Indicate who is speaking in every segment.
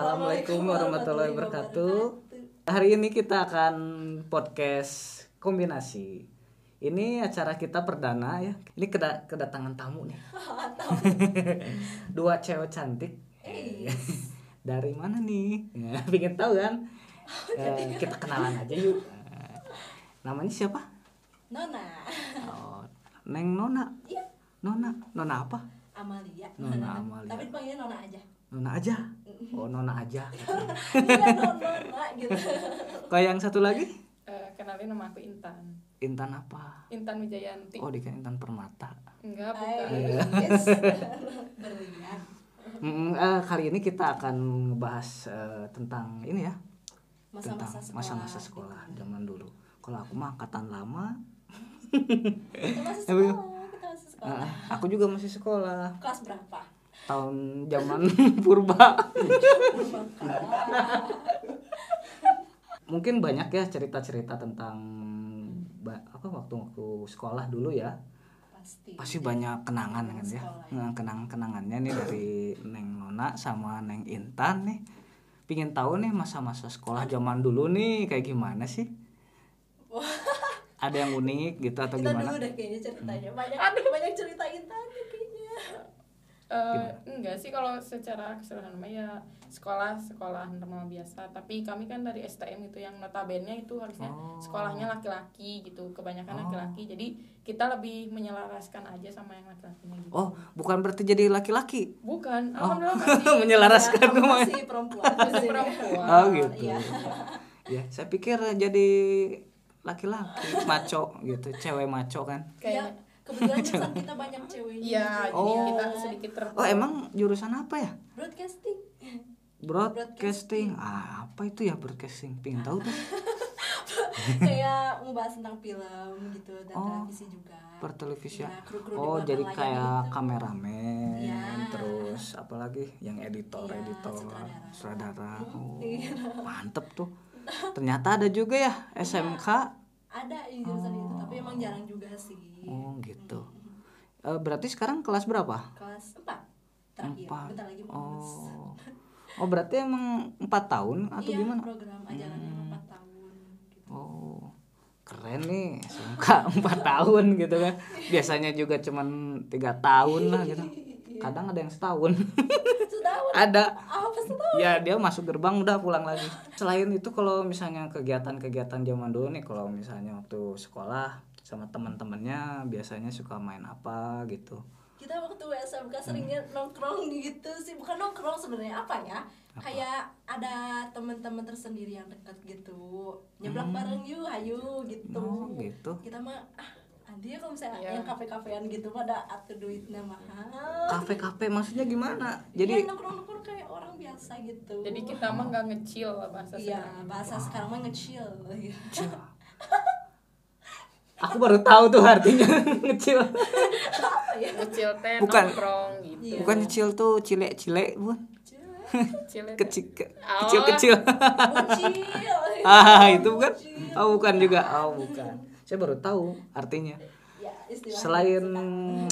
Speaker 1: Assalamualaikum warahmatullahi wabarakatuh. Hari ini kita akan podcast kombinasi. Ini acara kita perdana ya. Ini keda- kedatangan tamu nih. Dua cewek cantik. Dari mana nih? Ya, Pengen tahu kan? Eh, kita kenalan aja yuk. Eh, Namanya siapa?
Speaker 2: Nona,
Speaker 1: Oh, Neng Nona.
Speaker 2: Iya.
Speaker 1: Nona, Nona apa?
Speaker 2: Amalia.
Speaker 1: Nona Amalia.
Speaker 2: Tapi dipanggilnya Nona aja.
Speaker 1: Nona aja. Oh, Nona aja.
Speaker 2: Iya, Nona, Nona gitu.
Speaker 1: Kalau yang satu lagi?
Speaker 3: Eh, kenalin nama aku Intan
Speaker 1: Intan apa?
Speaker 3: Intan Wijayanti
Speaker 1: Oh, dikira Intan Permata.
Speaker 3: enggak bukan
Speaker 2: Hai,
Speaker 1: Iya.
Speaker 2: yes. Berlian.
Speaker 1: Mm, eh, kali ini kita akan ngebahas eh, tentang ini ya,
Speaker 2: Masa-masa
Speaker 1: tentang
Speaker 2: sekolah. gitu.
Speaker 1: masa-masa sekolah zaman dulu. Kalau aku mah angkatan lama,
Speaker 2: Kita masih sekolah, kita masih sekolah.
Speaker 1: eh, aku juga masih sekolah
Speaker 2: Kelas berapa?
Speaker 1: tahun zaman purba. Mungkin banyak ya cerita-cerita tentang ba- apa waktu-waktu sekolah dulu ya.
Speaker 2: Pasti.
Speaker 1: Pasti banyak kenangan kan ya.
Speaker 2: Sekolah.
Speaker 1: Nah, kenang-kenangannya nih dari Neng Nona sama Neng Intan nih. Pingin tahu nih masa-masa sekolah zaman dulu nih kayak gimana sih? Ada yang unik gitu atau
Speaker 2: Kita
Speaker 1: gimana? Hmm.
Speaker 2: dulu deh kayaknya ceritanya. Banyak Aduh. banyak cerita Intan nih kayaknya.
Speaker 3: Eh, enggak sih kalau secara keseluruhan mah ya sekolah sekolah normal biasa tapi kami kan dari STM gitu yang notabene itu harusnya
Speaker 1: Oh.
Speaker 3: sekolahnya laki-laki gitu kebanyakan
Speaker 1: Oh.
Speaker 3: laki-laki jadi kita lebih menyelaraskan aja sama yang laki-lakinya gitu
Speaker 1: Oh, bukan berarti jadi laki-laki.
Speaker 3: bukan
Speaker 1: Oh,
Speaker 3: alhamdulillah masih
Speaker 1: menyelaraskan
Speaker 2: Aku
Speaker 1: rumah.
Speaker 2: masih perempuan.
Speaker 3: masih perempuan
Speaker 1: Oh gitu.
Speaker 2: Iya.
Speaker 1: Ya, saya pikir jadi laki-laki maco gitu, cewek maco kan.
Speaker 2: Iya.
Speaker 3: Kayaknya-
Speaker 2: Kebetulan jurusan kita banyak ceweknya.
Speaker 3: Iya, jadi
Speaker 1: Oh.
Speaker 3: kita sedikit ter
Speaker 1: Oh, emang jurusan apa ya?
Speaker 2: Broadcasting.
Speaker 1: Broadcasting. Ah, apa itu ya broadcasting? Pingin tahu tuh.
Speaker 2: kayak ngebahas tentang film gitu dan
Speaker 1: Oh,
Speaker 2: televisi juga.
Speaker 1: pertelevisian.
Speaker 2: Iya, kru-kru di
Speaker 1: oh,
Speaker 2: belakang
Speaker 1: jadi
Speaker 2: layar
Speaker 1: kayak
Speaker 2: gitu.
Speaker 1: kameramen,
Speaker 2: Iya.
Speaker 1: terus apalagi yang editor,
Speaker 2: Iya,
Speaker 1: editor,
Speaker 2: sutradara.
Speaker 1: sutradara. Oh,
Speaker 2: Iya.
Speaker 1: mantep tuh. Ternyata ada juga ya SMK.
Speaker 2: Ada yang jurusan itu, tapi emang jarang juga sih.
Speaker 1: Oh, gitu. Eh, berarti sekarang kelas berapa?
Speaker 2: Kelas 4 terakhir.
Speaker 1: Empat.
Speaker 2: Bentar lagi mau lulus.
Speaker 1: Oh. Oh, berarti emang 4 tahun atau
Speaker 2: iya,
Speaker 1: gimana? Hmm.
Speaker 2: program ajarannya empat 4 tahun gitu.
Speaker 1: Oh. Keren nih, SMK 4 tahun gitu kan. Biasanya juga cuman tiga tahun lah gitu.
Speaker 2: Iya.
Speaker 1: Kadang ada yang setahun.
Speaker 2: Setahun
Speaker 1: ada.
Speaker 2: apa setahun?
Speaker 1: ya dia masuk gerbang udah pulang lagi selain itu kalau misalnya kegiatan-kegiatan zaman dulu nih kalau misalnya waktu sekolah sama teman-temannya biasanya suka main apa gitu
Speaker 2: Kita waktu SMK seringnya
Speaker 1: Hmm.
Speaker 2: nongkrong gitu sih. Bukan nongkrong sebenarnya apa ya? Kayak ada teman-teman tersendiri yang dekat gitu. Nyeblak bareng yuk, ayo gitu.
Speaker 1: Hmm. oh gitu
Speaker 2: kita mah ah nanti ya kalau misalnya
Speaker 3: Iya.
Speaker 2: yang kafe kafean gitu pada atur duitnya mahal
Speaker 1: kafe kafe maksudnya gimana
Speaker 2: jadi
Speaker 1: jadi
Speaker 2: nongkrong nongkrong kayak orang biasa gitu
Speaker 3: jadi kita mah nggak ngecil lah bahasa
Speaker 2: iya
Speaker 3: sekarang.
Speaker 2: bahasa sekarang mah ngecil Iya,
Speaker 1: aku baru tahu tuh artinya kecil
Speaker 2: apa ya
Speaker 3: ngecil teh
Speaker 1: Bukan.
Speaker 3: nongkrong gitu
Speaker 2: Iya.
Speaker 1: bukan kecil tuh cilek-cilek bun
Speaker 3: Kecil itu.
Speaker 1: kecil kecil kecil
Speaker 2: bocil
Speaker 1: ah itu bukan
Speaker 2: Bocil.
Speaker 1: oh bukan juga oh bukan saya baru tahu artinya
Speaker 2: ya istilah
Speaker 1: selain
Speaker 2: iya,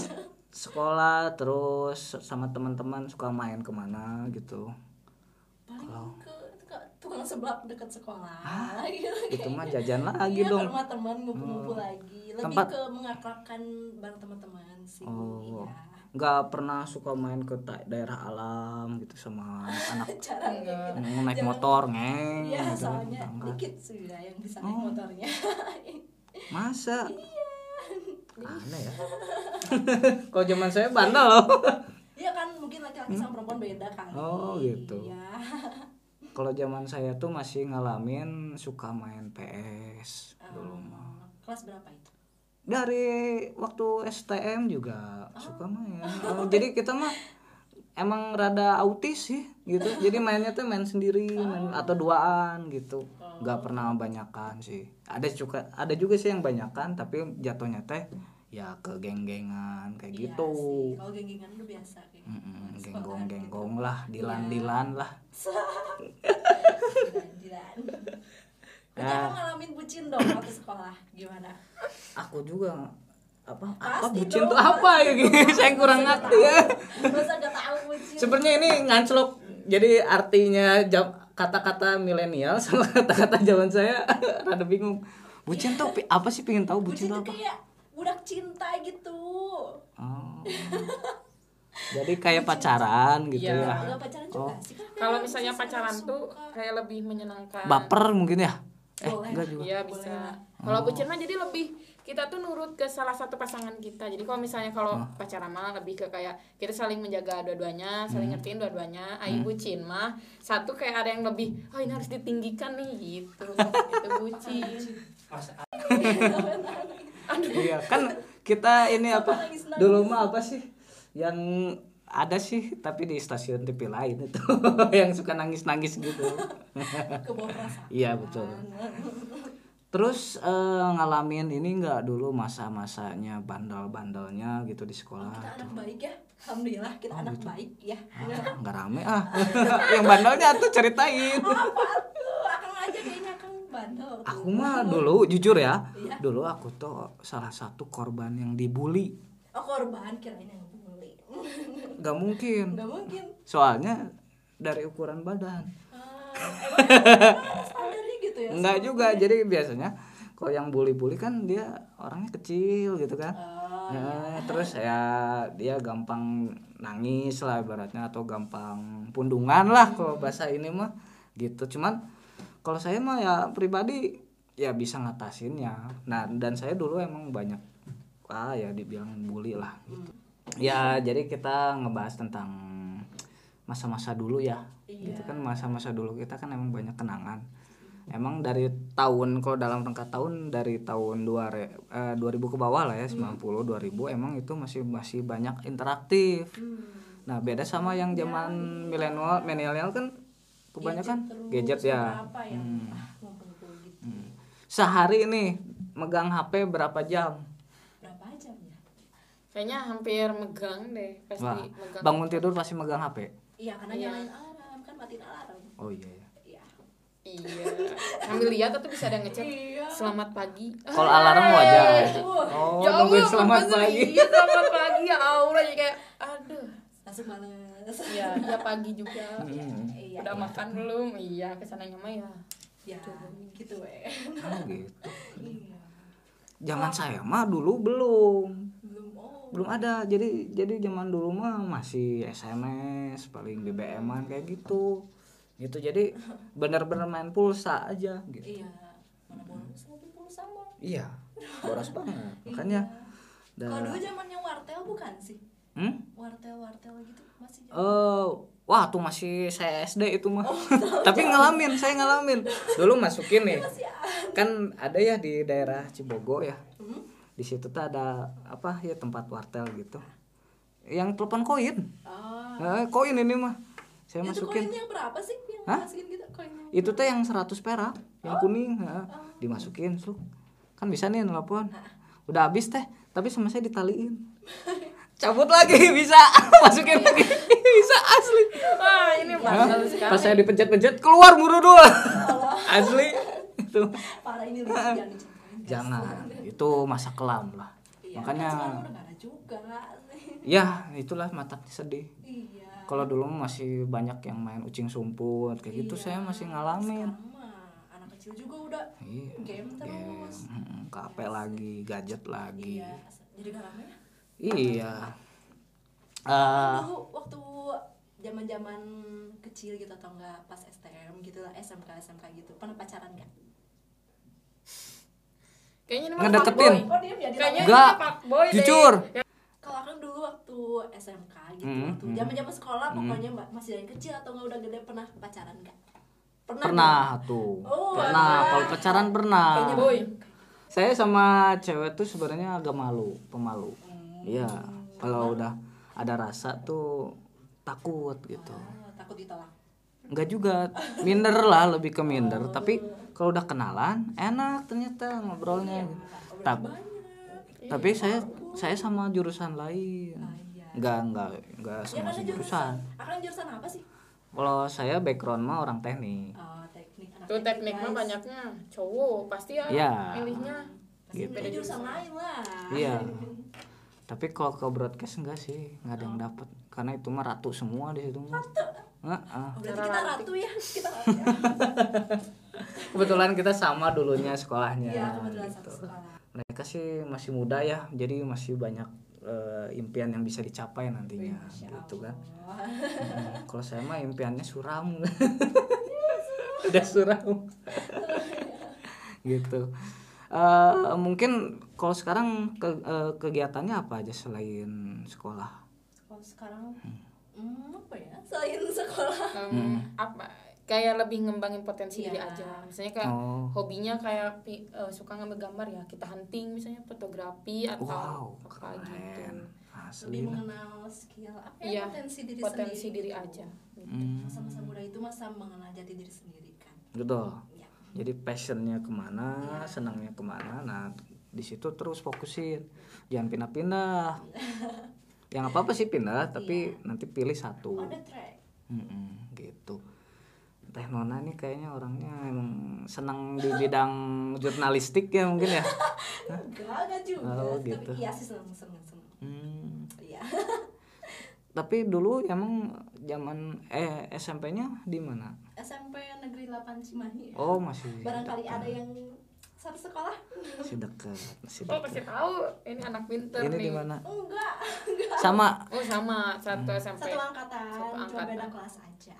Speaker 1: sekolah terus sama teman-teman suka main kemana gitu
Speaker 2: paling ke ke tukang seblak dekat sekolah gitu
Speaker 1: itu mah jajan
Speaker 2: Iya,
Speaker 1: lagi
Speaker 2: ke
Speaker 1: dong Hmm.
Speaker 2: rumah teman ngumpul-ngumpul lagi lebih
Speaker 1: Tempat-
Speaker 2: ke mengakrabkan bareng teman-teman sih
Speaker 1: Oh.
Speaker 2: iya.
Speaker 1: nggak pernah suka main ke ta- daerah alam gitu sama anak
Speaker 2: cara
Speaker 3: Enggak.
Speaker 1: naik motor ngeng
Speaker 2: Iya,
Speaker 1: gitu kan,
Speaker 2: soalnya
Speaker 1: tangga. Oh.
Speaker 2: dikit sih ya yang bisa naik motornya.
Speaker 1: masa
Speaker 2: Iya.
Speaker 1: aneh ya kalau zaman saya bandel loh
Speaker 2: Iya kan mungkin laki-laki sama perempuan beda kali.
Speaker 1: Hmm? Oh, gitu.
Speaker 2: Iya.
Speaker 1: kalau zaman saya tuh masih ngalamin suka main PS dulu mah
Speaker 2: Eh, kelas berapa itu?
Speaker 1: dari waktu STM juga
Speaker 2: Ah.
Speaker 1: suka main. Oh, jadi kita mah emang rada autis sih gitu. Jadi mainnya tuh main sendiri main-
Speaker 2: Ah.
Speaker 1: atau duaan gitu.
Speaker 2: Oh.
Speaker 1: nggak pernah banyakan sih. Ada juga ada juga sih yang banyakan tapi jatuhnya teh ya ke geng-gengan kayak
Speaker 2: Iya sih,
Speaker 1: gitu.
Speaker 2: gitu. Kalau genggengan udah biasa kayak gitu.
Speaker 1: Mm-mm,
Speaker 2: Sekolah
Speaker 1: Genggong-genggong lah, dilan-dilan
Speaker 2: Iya.
Speaker 1: lah.
Speaker 2: gitu. Jilan-jilan. Kita
Speaker 1: Ah.
Speaker 2: ngalamin bucin dong waktu sekolah. Gimana?
Speaker 1: Aku juga apa apa
Speaker 2: Pasti
Speaker 1: bucin
Speaker 2: dong,
Speaker 1: tuh apa ya?
Speaker 2: pasti dong.
Speaker 1: Saya kurang
Speaker 2: Masa nggak
Speaker 1: ngerti ya.
Speaker 2: tahu? Masa nggak tahu bucin?
Speaker 1: Sebenarnya ini nganclok jadi artinya jam- kata-kata milenial sama kata-kata zaman saya rada bingung. Bucin tuh pi- apa sih pengen tahu
Speaker 2: bucin
Speaker 1: bucin tuh
Speaker 2: tuh
Speaker 1: apa?
Speaker 2: kayak budak cinta gitu
Speaker 1: Oh. Jadi kayak pacaran gitu
Speaker 3: Iya.
Speaker 1: ya.
Speaker 2: nggak pacaran juga sih kan
Speaker 3: Kalau misalnya pacaran tuh kayak lebih menyenangkan.
Speaker 1: Baper Oh. mungkin ya? Eh,
Speaker 2: Boleh.
Speaker 1: enggak juga.
Speaker 3: Iya bisa. Kalau bucin mah jadi lebih kita tuh nurut ke salah satu pasangan kita. Jadi kalau misalnya kalau
Speaker 1: Oh.
Speaker 3: pacaran mah lebih ke kayak kita saling menjaga dua-duanya, saling
Speaker 1: Hmm.
Speaker 3: ngertiin dua-duanya. Ayu bucin mah satu kayak ada yang lebih, oh ini harus ditinggikan nih gitu. itu bucin.
Speaker 1: Iya, kan kita ini apa?
Speaker 2: nangis, nangis.
Speaker 1: Dulu mah apa sih? Yang ada sih tapi di stasiun TV lain itu yang suka nangis-nangis gitu.
Speaker 2: ke bawah perasaan
Speaker 1: Iya, betul. Terus eh, ngalamin ini nggak dulu masa-masanya bandel-bandelnya gitu di
Speaker 2: kita
Speaker 1: sekolah?
Speaker 2: anak baik ya alhamdulillah kita anak baik ya
Speaker 1: Ah, nggak rame ah. Yang bandelnya tuh
Speaker 2: apa
Speaker 1: ceritain.
Speaker 2: tuh akang aja kayaknya akang bandel tuh.
Speaker 1: Aku mah dulu jujur ya,
Speaker 2: Iya.
Speaker 1: dulu aku tuh salah satu korban yang dibully.
Speaker 2: oh korban kirain yang bully
Speaker 1: Gak mungkin.
Speaker 2: nggak mungkin
Speaker 1: Soalnya dari ukuran badan.
Speaker 2: Ah, emang emang standarnya gitu ya
Speaker 1: Enggak juga. Jadi biasanya kalau yang bully-bully kan dia orangnya kecil gitu kan.
Speaker 2: Oh,
Speaker 1: Ya, terus ya dia gampang nangis lah ibaratnya atau gampang pundungan lah kalau
Speaker 2: Hmm.
Speaker 1: bahasa ini mah gitu cuman kalau saya mah ya pribadi ya bisa ngatasinnya nah dan saya dulu emang banyak ah ya dibilang bully lah gitu ya jadi kita ngebahas tentang masa-masa dulu ya gitu kan masa-masa dulu kita kan emang banyak kenangan emang dari tahun kalau dalam rangka tahun dari tahun 2 re- eh, 2000 ke bawah lah ya 90 2000 emang itu masih masih banyak interaktif
Speaker 2: Hmm.
Speaker 1: nah beda sama yang zaman milenial milenial kan kebanyakan gadget,
Speaker 2: terus
Speaker 1: ya hmm.
Speaker 2: apa yang ah, ngumpul-ngumpul gitu
Speaker 1: sehari nih megang HP berapa jam
Speaker 2: berapa jam ya
Speaker 3: Kayaknya hampir megang deh, pasti
Speaker 1: Wah,
Speaker 3: megang.
Speaker 1: bangun tidur pasti megang HP
Speaker 2: iya karena nyalain alarm kan matiin alarm
Speaker 1: oh iya ya.
Speaker 2: iya
Speaker 3: Iya. Sambil lihat tuh bisa ada ngechat.
Speaker 2: Iya.
Speaker 3: Selamat pagi.
Speaker 1: kalau alarm wajar oh
Speaker 3: Ya
Speaker 1: nungguin
Speaker 3: Allah,
Speaker 1: selamat
Speaker 3: bagus
Speaker 1: pagi
Speaker 3: nih. Iya, selamat pagi ya Allah jadi kayak aduh.
Speaker 2: langsung males
Speaker 3: Iya, iya pagi juga.
Speaker 1: Hmm,
Speaker 2: iya
Speaker 3: Udah makan belum? Iya, kesananya mah ya.
Speaker 2: ya gitu weh
Speaker 1: Oh, gitu
Speaker 2: iya
Speaker 1: zaman saya mah dulu belum
Speaker 2: belum oh
Speaker 1: belum ada jadi jadi zaman dulu mah masih SMS paling BBM-an kayak gitu gitu jadi bener-bener main pulsa aja gitu
Speaker 2: iya mana bolos ngopi pulsa mah
Speaker 1: iya boros banget makanya
Speaker 3: Iya.
Speaker 2: kalau dulu
Speaker 1: da-
Speaker 2: zamannya wartel bukan sih
Speaker 1: hmm?
Speaker 2: wartel wartel gitu masih zaman
Speaker 1: Eh, wah tuh masih saya SD itu mah
Speaker 2: Oh, ya.
Speaker 1: tapi ngalamin saya ngalamin dulu masukin nih kan ada ya di daerah Cibogo ya
Speaker 2: Hmm?
Speaker 1: di situ tuh ada apa ya tempat wartel gitu yang telepon koin
Speaker 2: ah
Speaker 1: Eh, koin ini mah saya
Speaker 2: itu
Speaker 1: masukin
Speaker 2: koinnya berapa sih yang
Speaker 1: Hah? Iya.
Speaker 2: masukin gitu koinnya
Speaker 1: itu teh yang 100 perak yang
Speaker 2: Oh.
Speaker 1: kuning heeh. dimasukin lu kan bisa nih nelpon udah habis teh tapi sama saya ditaliin cabut lagi bisa masukin lagi bisa asli
Speaker 3: Wah, ini
Speaker 1: Hah?
Speaker 3: bakal sekali.
Speaker 1: pas saya dipencet-pencet keluar muru dua asli itu
Speaker 2: parah ini lucu jangan diceritain
Speaker 1: jangan itu masa kelam lah
Speaker 2: Iya,
Speaker 1: makanya
Speaker 2: kan sekarang udah gak ada juga sih.
Speaker 1: ya itulah mata sedih
Speaker 2: iya
Speaker 1: kalau dulu masih banyak yang main ucing sumput kayak
Speaker 2: Iya.
Speaker 1: gitu saya masih ngalamin
Speaker 2: sekarang mah anak kecil juga udah
Speaker 1: Iya,
Speaker 2: game terus
Speaker 1: Mm, ke HP lagi, gadget lagi.
Speaker 2: iya jadi gak lama ya
Speaker 1: Iya. Eh,
Speaker 2: dulu waktu zaman zaman kecil gitu atau enggak pas STM gitu lah SMK SMK gitu pernah pacaran nggak
Speaker 3: Kayaknya ini mah
Speaker 1: Ngedeketin.
Speaker 3: fuckboy.
Speaker 2: oh diam ya di
Speaker 3: Kayaknya
Speaker 2: lama.
Speaker 1: Enggak.
Speaker 3: ini fuckboy deh. Ya,
Speaker 1: jujur.
Speaker 2: kalau kan dulu waktu SMK gitu
Speaker 1: Hmm,
Speaker 2: waktu zaman zaman sekolah pokoknya mbak masih dari kecil atau enggak udah gede pernah pacaran nggak pernah
Speaker 1: Pernah tuh.
Speaker 2: Oh,
Speaker 1: pernah,
Speaker 2: ada.
Speaker 1: kalau pacaran pernah.
Speaker 3: Kayaknya boy.
Speaker 1: Saya sama cewek tuh sebenarnya agak malu, pemalu.
Speaker 2: Hmm.
Speaker 1: Iya, kalau udah ada rasa tuh takut gitu.
Speaker 2: Oh, takut ditolak
Speaker 1: Enggak juga, minder lah, lebih ke minder, tapi kalau udah kenalan enak
Speaker 2: Iya,
Speaker 1: ternyata ngobrolnya. Tapi tapi saya saya sama jurusan lain.
Speaker 2: Ah, iya Ya,
Speaker 1: Enggak, enggak, enggak semua
Speaker 2: karena
Speaker 1: jurusan.
Speaker 2: akan Iya, kan jurusan apa sih
Speaker 1: Kalau saya background mah orang teknik.
Speaker 2: Oh, teknik anak
Speaker 3: Tuh teknik mah
Speaker 2: guys.
Speaker 3: banyaknya cowok pasti ya
Speaker 1: Iya.
Speaker 3: milihnya.
Speaker 2: pasti
Speaker 1: gitu.
Speaker 2: milih jurusan lain lah
Speaker 1: Iya.
Speaker 2: Oh.
Speaker 1: Tapi kalau ke broadcast enggak sih, enggak ada yang dapat karena itu mah ratu semua di situ mah. Heeh.
Speaker 2: Oh, berarti kita ratu ya kita ratu ya.
Speaker 1: Kebetulan kita sama dulunya sekolahnya.
Speaker 2: Iya, kebetulan satu
Speaker 1: gitu.
Speaker 2: sekolah.
Speaker 1: Mereka sih masih muda ya, jadi masih banyak eh, impian yang bisa dicapai nantinya
Speaker 2: Masya
Speaker 1: gitu kan.
Speaker 2: Allah. Iya,
Speaker 1: Hmm, Kalau saya mah impiannya suram. Udah suram. gitu. Eh, mungkin kalau sekarang ke- eh, kegiatannya apa aja selain sekolah?
Speaker 2: Kalau sekarang hmm, apa ya? Selain sekolah.
Speaker 3: Em, apa kayak lebih ngembangin potensi
Speaker 2: Iya.
Speaker 3: diri aja misalnya kayak
Speaker 1: Oh.
Speaker 3: hobinya kayak pi- eh, suka ngambil gambar ya kita hunting misalnya fotografi atau
Speaker 1: Wow,
Speaker 3: apa gitu
Speaker 1: keren.
Speaker 2: Lebih
Speaker 1: Asli. nah.
Speaker 2: mengenal skill apa ya,
Speaker 3: Iya,
Speaker 2: potensi diri
Speaker 3: potensi
Speaker 2: sendiri. gitu.
Speaker 3: diri aja
Speaker 1: Hmm,
Speaker 2: Masa-masa muda itu masa mengenal jati diri sendiri kan.
Speaker 1: betul.
Speaker 2: Ya.
Speaker 1: Jadi passionnya kemana,
Speaker 2: Iya.
Speaker 1: senangnya kemana. Nah di situ terus fokusin, jangan pindah-pindah. Yang apa apa sih
Speaker 2: Iya.
Speaker 1: pindah, tapi nanti pilih satu.
Speaker 2: On
Speaker 3: Uh.
Speaker 2: the track.
Speaker 1: Mm-mm, gitu. Teh Nona nih kayaknya orangnya emang senang di bidang jurnalistik ya mungkin ya.
Speaker 2: Kan Enggak, enggak juga.
Speaker 1: Oh, gitu.
Speaker 2: Tapi iya sih seneng seneng seneng.
Speaker 1: Hmm,
Speaker 2: Iya.
Speaker 1: Tapi dulu emang zaman eh SMP-nya di mana?
Speaker 2: SMP Negeri 8 Cimahi.
Speaker 1: Oh masih
Speaker 2: Iya.
Speaker 3: iya,
Speaker 2: Barangkali
Speaker 1: dekat.
Speaker 2: ada yang satu sekolah.
Speaker 1: masih dekat masih
Speaker 3: oh
Speaker 1: dekat.
Speaker 3: pasti tahu ini anak pinter
Speaker 1: Ini
Speaker 3: nih
Speaker 1: di mana?
Speaker 2: Enggak.
Speaker 1: Sama.
Speaker 3: oh sama satu
Speaker 1: Hmm.
Speaker 3: SMP
Speaker 2: Satu angkatan,
Speaker 3: Satu
Speaker 2: cuma
Speaker 3: angkatan.
Speaker 2: beda kelas aja.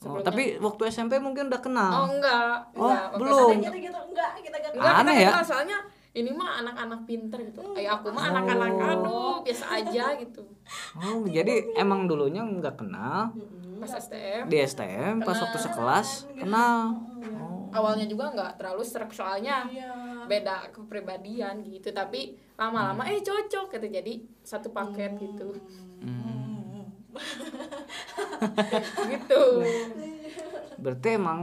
Speaker 1: Oh,
Speaker 3: Sebelumnya-
Speaker 1: tapi waktu SMP mungkin udah kenal.
Speaker 3: oh enggak
Speaker 1: Oh,
Speaker 3: enggak. Waktu
Speaker 1: belum.
Speaker 3: SMP
Speaker 2: Ada gitu-gitu enggak, kita enggak
Speaker 3: Enggak,
Speaker 1: Aneh
Speaker 3: kita
Speaker 1: ya?
Speaker 3: kenal, soalnya ini mah anak-anak pinter gitu. Kayak aku mah
Speaker 1: Oh.
Speaker 3: anak-anak aduh biasa aja gitu.
Speaker 1: Oh, jadi emang dulunya nggak kenal
Speaker 2: Mm-mm.
Speaker 3: Pas STM
Speaker 1: di STM pas
Speaker 3: Kenal.
Speaker 1: waktu sekelas kenal. Oh.
Speaker 3: awalnya juga nggak terlalu serak soalnya
Speaker 2: Iya.
Speaker 3: beda kepribadian gitu tapi lama-lama
Speaker 1: Hmm.
Speaker 3: eh cocok gitu jadi satu paket gitu
Speaker 2: Hmm.
Speaker 3: gitu
Speaker 1: Nah. Berarti emang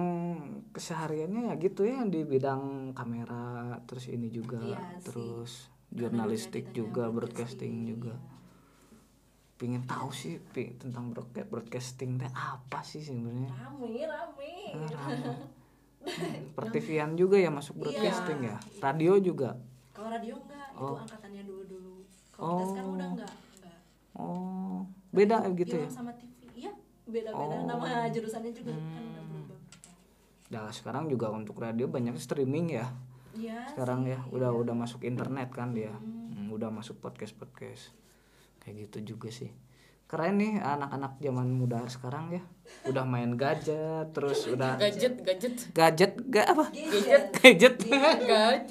Speaker 1: kesehariannya ya gitu ya di bidang kamera, terus ini juga,
Speaker 2: Iya sih.
Speaker 1: terus
Speaker 2: Karena
Speaker 1: jurnalistik juga,
Speaker 2: kita
Speaker 1: broadcasting juga. Pingin tahu sih Pi, tentang broadca- broadcasting teh apa sih sebenarnya?
Speaker 2: Rame, rame.
Speaker 1: Ah. Hmm, Pertivian juga ya masuk broadcasting ya. Radio juga.
Speaker 2: Kalau radio enggak, itu
Speaker 1: Oh.
Speaker 2: angkatannya dulu-dulu. Kalau kita
Speaker 1: Oh.
Speaker 2: sekarang udah enggak. enggak.
Speaker 1: Oh, beda gitu ya.
Speaker 2: Film sama TV. Iya, beda-beda
Speaker 1: Oh. Hmm.
Speaker 2: nama jurusannya juga kan udah berubah.
Speaker 1: Nah, sekarang juga untuk radio banyak streaming ya.
Speaker 2: Iya.
Speaker 1: sekarang ya udah udah masuk internet kan dia Hmm, udah masuk podcast podcast kayak gitu juga sih keren nih anak-anak zaman muda sekarang ya udah main gadget terus udah
Speaker 3: gadget gadget
Speaker 1: gadget gak apa
Speaker 2: Gadget.
Speaker 1: gadget
Speaker 3: gadget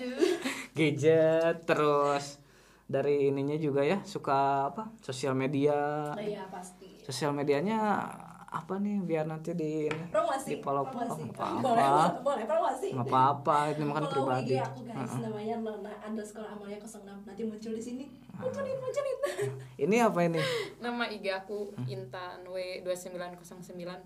Speaker 1: gadget terus dari ininya juga ya suka apa sosial media
Speaker 2: Nah, Iya, pasti.
Speaker 1: sosial medianya apa nih biar nanti di ini di
Speaker 2: Promosi.
Speaker 1: follow
Speaker 2: promosi.
Speaker 1: apa
Speaker 2: Boleh,
Speaker 1: apa
Speaker 2: boleh promosi.
Speaker 1: nggak apa-apa ini makan
Speaker 2: Follow
Speaker 1: pribadi
Speaker 2: IG aku guys, namanya Nona underscore Amalia 06 Nanti muncul di sini Munculin, munculin
Speaker 1: ini apa ini
Speaker 3: nama IG aku Intan W 2909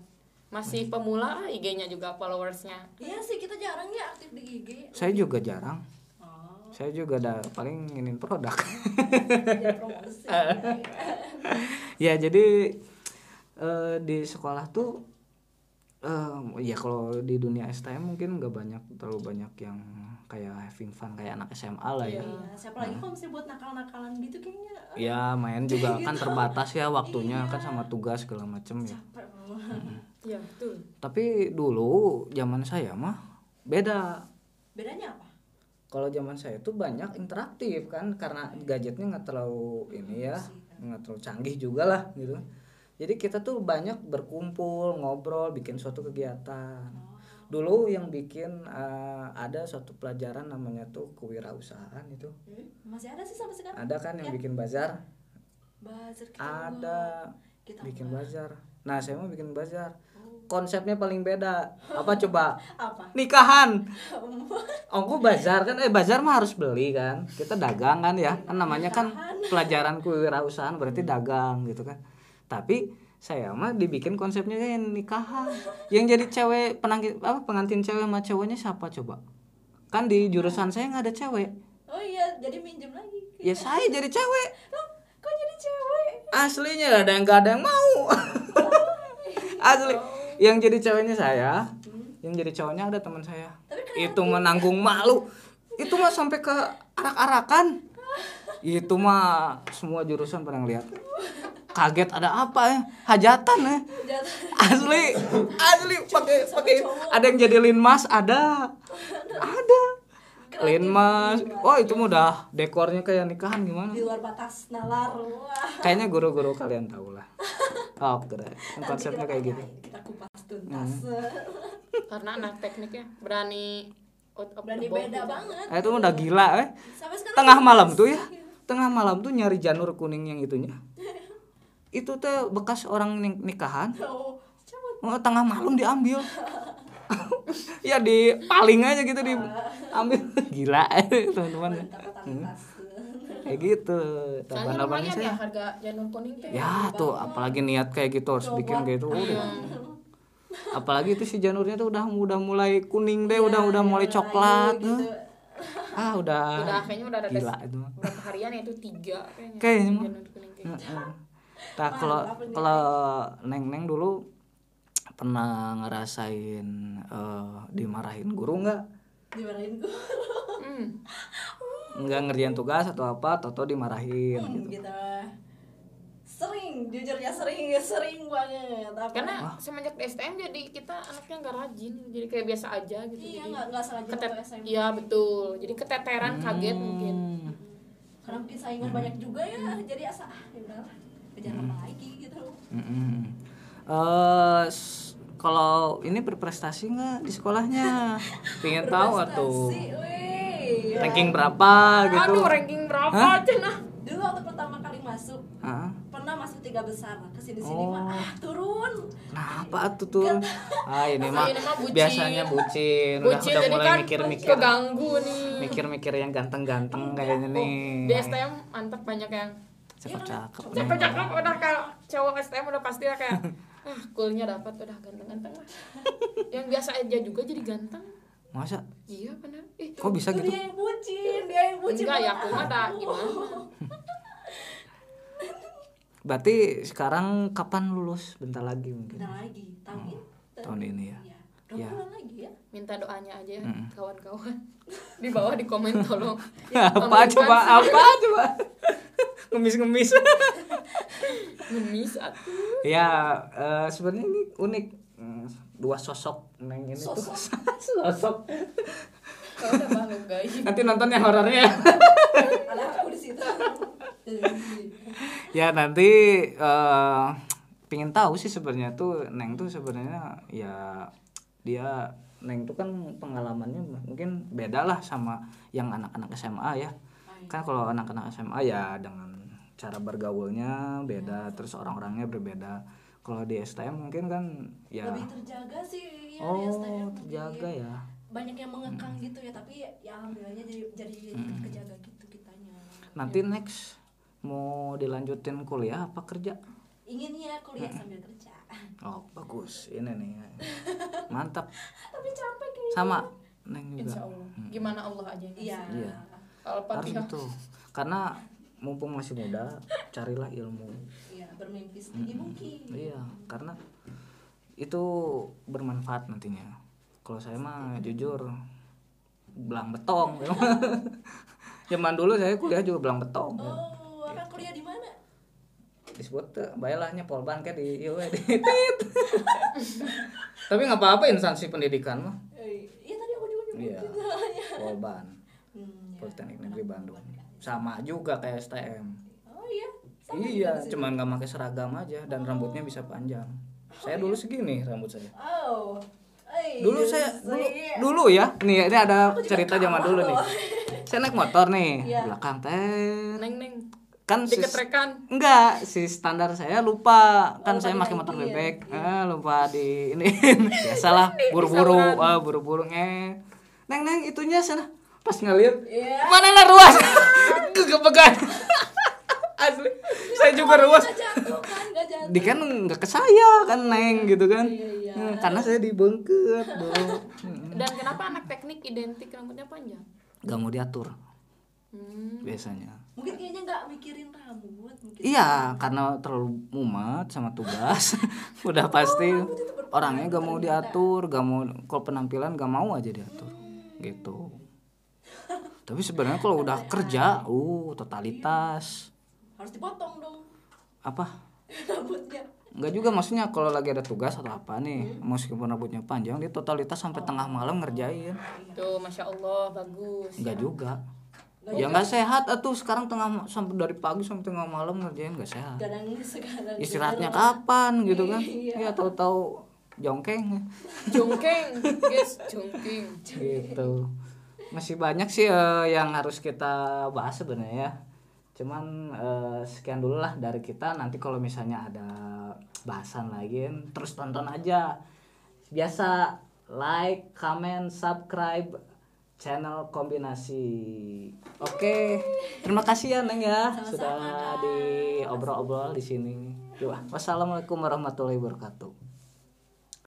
Speaker 3: masih pemula IG-nya juga followersnya
Speaker 2: Iya sih, kita jarang ya aktif di IG
Speaker 1: saya juga jarang
Speaker 2: Oh,
Speaker 1: saya juga ada paling ingin produk
Speaker 2: jadi promosi
Speaker 1: Ah. ya jadi eh, di sekolah tuh eh, ya kalau di dunia STM mungkin nggak banyak terlalu banyak yang kayak having fun kayak anak SMA lah ya
Speaker 2: Iya, siapa lagi kalau misalnya buat nakal-nakalan gitu kayaknya ah,
Speaker 1: ya main juga kan terbatas ya waktunya kan sama tugas segala macem ya
Speaker 2: capek
Speaker 3: iya betul
Speaker 1: tapi dulu zaman saya mah beda
Speaker 2: Bedanya apa?
Speaker 1: kalau zaman saya itu banyak interaktif kan karena gadgetnya nggak terlalu ini ya nggak terlalu canggih juga lah gitu jadi kita tuh banyak berkumpul ngobrol bikin suatu kegiatan dulu yang bikin eh, ada suatu pelajaran namanya tuh kewirausahaan itu
Speaker 2: Hmm? Masih ada sih sampai sekarang
Speaker 1: ada kan yang bikin bazar
Speaker 2: Buzzer kita
Speaker 1: Ah. ada
Speaker 2: Kita
Speaker 1: bikin bazar nah saya mau bikin bazar konsepnya paling beda apa coba
Speaker 2: Apa?
Speaker 1: nikahan ongko bazar kan eh bazar mah harus beli kan kita dagang kan ya kan namanya kan pelajaran kewirausahaan berarti dagang gitu kan tapi saya mah dibikin konsepnya kayak nikahan yang jadi cewek penangki apa pengantin cewek sama cowoknya siapa coba kan di jurusan saya nggak ada cewek
Speaker 2: Oh iya, jadi minjem lagi
Speaker 1: ya saya jadi cewek
Speaker 2: Loh, kok jadi cewek?
Speaker 1: aslinya ada yang nggak ada yang mau asli yang jadi ceweknya saya yang jadi cowoknya ada teman saya itu menanggung malu itu mah sampai ke arak-arakan itu mah semua jurusan pada ngeliat kaget ada apa ya hajatan ya
Speaker 2: Jatuh.
Speaker 1: asli asli pakai pakai ada yang jadi linmas ada ada linmas oh itu mah udah dekornya kayak nikahan gimana
Speaker 2: di luar batas nalar wah
Speaker 1: kayaknya guru-guru kalian tahu lah oh keren konsepnya kayak gitu Hmm.
Speaker 2: Nanti kita kupas tuntas
Speaker 3: karena anak tekniknya berani out of the
Speaker 2: berani
Speaker 3: box.
Speaker 2: beda banget
Speaker 1: Eh, itu mah udah gila eh
Speaker 2: sampai sekarang
Speaker 1: tengah malam tuh ya tengah malam tuh nyari janur kuning yang itunya itu tuh bekas orang nik- nikahan
Speaker 2: oh, cabut
Speaker 1: Oh, tengah malam diambil ya di paling aja gitu diambil gila eh, teman-teman ya.
Speaker 2: takut tuntas
Speaker 1: kayak gitu
Speaker 3: soalnya
Speaker 1: Taban-tabannya
Speaker 3: lumayan
Speaker 1: saya-
Speaker 3: ya harga janur kuning
Speaker 2: Iya.
Speaker 3: teh
Speaker 1: ya tuh apalagi niat kayak gitu harus bikin kayak itu
Speaker 3: Iya.
Speaker 1: udah apalagi itu si janurnya tuh udah udah mulai kuning
Speaker 3: Iya,
Speaker 1: deh udah udah mulai coklat
Speaker 2: gitu
Speaker 1: tuh. ah udah
Speaker 3: gitu. udah kayaknya udah ada tes
Speaker 1: gila itu
Speaker 3: berapa harian ya itu tiga kayaknya
Speaker 1: Kayaknya mah.
Speaker 3: janur kuning kayak
Speaker 1: Heeh. Nah, kalau kalau neng neng dulu pernah ngerasain eh, dimarahin guru nggak
Speaker 2: dimarahin gue
Speaker 3: hmm.
Speaker 1: nggak ngerjain tugas atau apa toto dimarahin gitu
Speaker 2: gitu sering jujurnya sering sering banget tapi
Speaker 3: karena semenjak di STM jadi kita anaknya nggak rajin jadi kayak biasa aja gitu
Speaker 2: iya
Speaker 3: jadi
Speaker 2: nggak nggak sengaja
Speaker 3: ketet
Speaker 2: waktu SMP
Speaker 3: iya betul jadi keteteran Kan kaget mungkin
Speaker 1: Hmm.
Speaker 2: karena mungkin saingan banyak juga ya jadi asa ah ya udahlah kejar apa
Speaker 1: Hmm.
Speaker 2: lagi gitu
Speaker 1: Mm-mm. Eh, s- kalau ini berprestasi nggak di sekolahnya pengen tahu atau
Speaker 2: Prestasi, weh.
Speaker 1: ranking berapa gitu
Speaker 3: aduh ranking berapa nah?
Speaker 1: Hah?
Speaker 3: cenah
Speaker 2: dulu waktu pertama kali masuk
Speaker 1: Hah?
Speaker 2: pernah masuk tiga besar kesini sini
Speaker 1: Oh.
Speaker 2: mah ah, turun
Speaker 1: Kenapa tuh tuh? Ah ini mah
Speaker 3: Ini mah bucin.
Speaker 1: biasanya bucin, udah,
Speaker 3: bucin
Speaker 1: udah
Speaker 3: jadi
Speaker 1: mulai
Speaker 3: kan
Speaker 1: mikir-mikir,
Speaker 3: keganggu nih
Speaker 1: mikir-mikir yang
Speaker 3: Iya,
Speaker 1: ganteng-ganteng kayaknya nih.
Speaker 3: di STM mantap banyak yang
Speaker 1: Cakep cakep.
Speaker 3: Cepet cakep udah kalau cowok STM udah pasti lah kayak ah kulnya dapat udah ganteng-ganteng lah yang biasa aja juga jadi ganteng
Speaker 1: Masa?
Speaker 3: iya benar eh
Speaker 1: Kok bisa
Speaker 2: Itu
Speaker 1: gitu?
Speaker 2: dia yang bucin dia yang bucin
Speaker 3: enggak ya
Speaker 2: banget.
Speaker 3: aku mah dah gimana
Speaker 1: Berarti sekarang kapan lulus? Bentar lagi mungkin.
Speaker 2: Bentar
Speaker 3: Nah,
Speaker 2: lagi tahun ini
Speaker 1: Hmm, Tahun ini ya.
Speaker 2: Iya. dua
Speaker 1: Ya.
Speaker 2: bulan lagi ya
Speaker 3: minta doanya aja ya, kawan-kawan di bawah di komen tolong
Speaker 1: apa
Speaker 3: Komenkan
Speaker 1: coba
Speaker 3: Ya, sih.
Speaker 1: apa coba? Ngemis-ngemis.
Speaker 3: ngemis atuh.
Speaker 1: ya eh, sebenarnya ini unik Hmm, dua sosok neng ini tuh sosok
Speaker 3: kalau udah malu guys
Speaker 1: nanti nontonnya horornya
Speaker 2: ada aku di situ Iya,
Speaker 1: ya nanti eh pingin tahu sih sebenarnya tuh neng tuh sebenarnya ya dia neng tuh kan pengalamannya mungkin beda lah sama yang anak-anak SMA ya
Speaker 2: Iya.
Speaker 1: kan kalau anak-anak SMA ya dengan cara bergaulnya beda
Speaker 2: Iya.
Speaker 1: terus orang-orangnya berbeda kalau di STM mungkin kan ya
Speaker 2: lebih terjaga sih ya, di STM.
Speaker 1: oh terjaga
Speaker 2: Iya.
Speaker 1: ya Hmm.
Speaker 2: banyak yang mengekang gitu ya tapi ya alhamdulillahnya jadi jadi kejaga gitu kitanya
Speaker 1: nanti next mau dilanjutin kuliah apa kerja
Speaker 2: inginnya
Speaker 1: Hmm.
Speaker 2: kuliah sambil kerja
Speaker 1: oh bagus ini nih mantap
Speaker 2: tapi capek kayaknya
Speaker 1: sama neng juga
Speaker 3: insya Allah gimana Allah aja yang
Speaker 2: iya
Speaker 3: ngasih.
Speaker 1: Iya.
Speaker 3: kalau
Speaker 1: harus
Speaker 3: pati
Speaker 1: gitu karena mumpung masih muda carilah ilmu
Speaker 2: iya bermimpi setinggi mungkin
Speaker 1: iya karena itu bermanfaat nantinya kalau saya mah jujur belang betong zaman dulu saya kuliah juga belang betong Ya.
Speaker 2: oh anak kuliah di mana
Speaker 1: disebut tuh bayarlah polban kayak di ieu we, di tit. tapi nggak apa-apa instansi pendidikan mah
Speaker 2: Eh, iya tadi aku juga nyebut
Speaker 1: iya polban
Speaker 2: Hmm, ya.
Speaker 1: Politeknik Negeri Bandung sama juga kayak STM
Speaker 2: oh iya sama
Speaker 1: Iya,
Speaker 2: juga di situ.
Speaker 1: cuman nggak pakai seragam aja dan rambutnya bisa panjang. Saya dulu
Speaker 2: iya.
Speaker 1: segini rambut saya.
Speaker 2: oh Eh,
Speaker 1: Dulu saya dulu,
Speaker 2: iya.
Speaker 1: dulu ya. Nih, ini ada cerita zaman dulu nih. Saya naik motor nih,
Speaker 2: Iya.
Speaker 1: belakang teh.
Speaker 3: neng neng
Speaker 1: Kan si
Speaker 3: diketrekan
Speaker 1: enggak, si standar saya lupa. Kan
Speaker 2: lupa
Speaker 1: saya pakai motor
Speaker 2: dinaikin,
Speaker 1: bebek. Eh, lupa di ini. Biasalah buru-buru, ah, buru-buru nge. Neng neng itunya sana. Pas ngeliat
Speaker 2: Iya.
Speaker 1: mana lah ruas. Kegebegan. Asli. Saya juga ruas.
Speaker 2: Nggak jatuh kan nggak jatuh
Speaker 1: di kan nggak ke saya kan neng gitu kan
Speaker 2: Iya, iya.
Speaker 1: Hmm, karena saya dibengket dong
Speaker 3: dan kenapa anak teknik identik rambutnya panjang
Speaker 1: nggak mau diatur
Speaker 3: hmm.
Speaker 1: biasanya
Speaker 2: mungkin kayaknya nggak mikirin rambut mungkin
Speaker 1: iya karena terlalu mumet sama tugas udah pasti orangnya nggak mau diatur nggak mau kalau penampilan nggak mau aja diatur gitu tapi sebenarnya kalau udah kerja uh totalitas
Speaker 2: harus dipotong dong
Speaker 1: apa
Speaker 2: rambutnya
Speaker 1: Enggak juga maksudnya kalau lagi ada tugas atau apa nih, meskipun rambutnya panjang dia totalitas sampai tengah malam ngerjain.
Speaker 3: Tuh, masya Allah, bagus.
Speaker 1: Enggak juga.
Speaker 2: Nggak
Speaker 1: ya enggak sehat atuh sekarang tengah ma- sampai dari pagi sampai tengah malam ngerjain enggak sehat.
Speaker 2: kadang sekarang
Speaker 1: Istirahatnya kapan gitu kan?
Speaker 2: Iya.
Speaker 1: Ya tahu-tahu jongkeng
Speaker 3: Jongkeng, guys, jongkeng.
Speaker 1: gitu. Masih banyak sih eh, yang harus kita bahas sebenarnya ya. Cuman eh, sekian dulu lah dari kita. Nanti kalau misalnya ada bahasan lagi terus tonton aja. Biasa like, comment, subscribe channel kombinasi. Oke, terima kasih ya Neng ya sudah diobrol-obrol di sini. Yuk, Wassalamualaikum warahmatullahi wabarakatuh.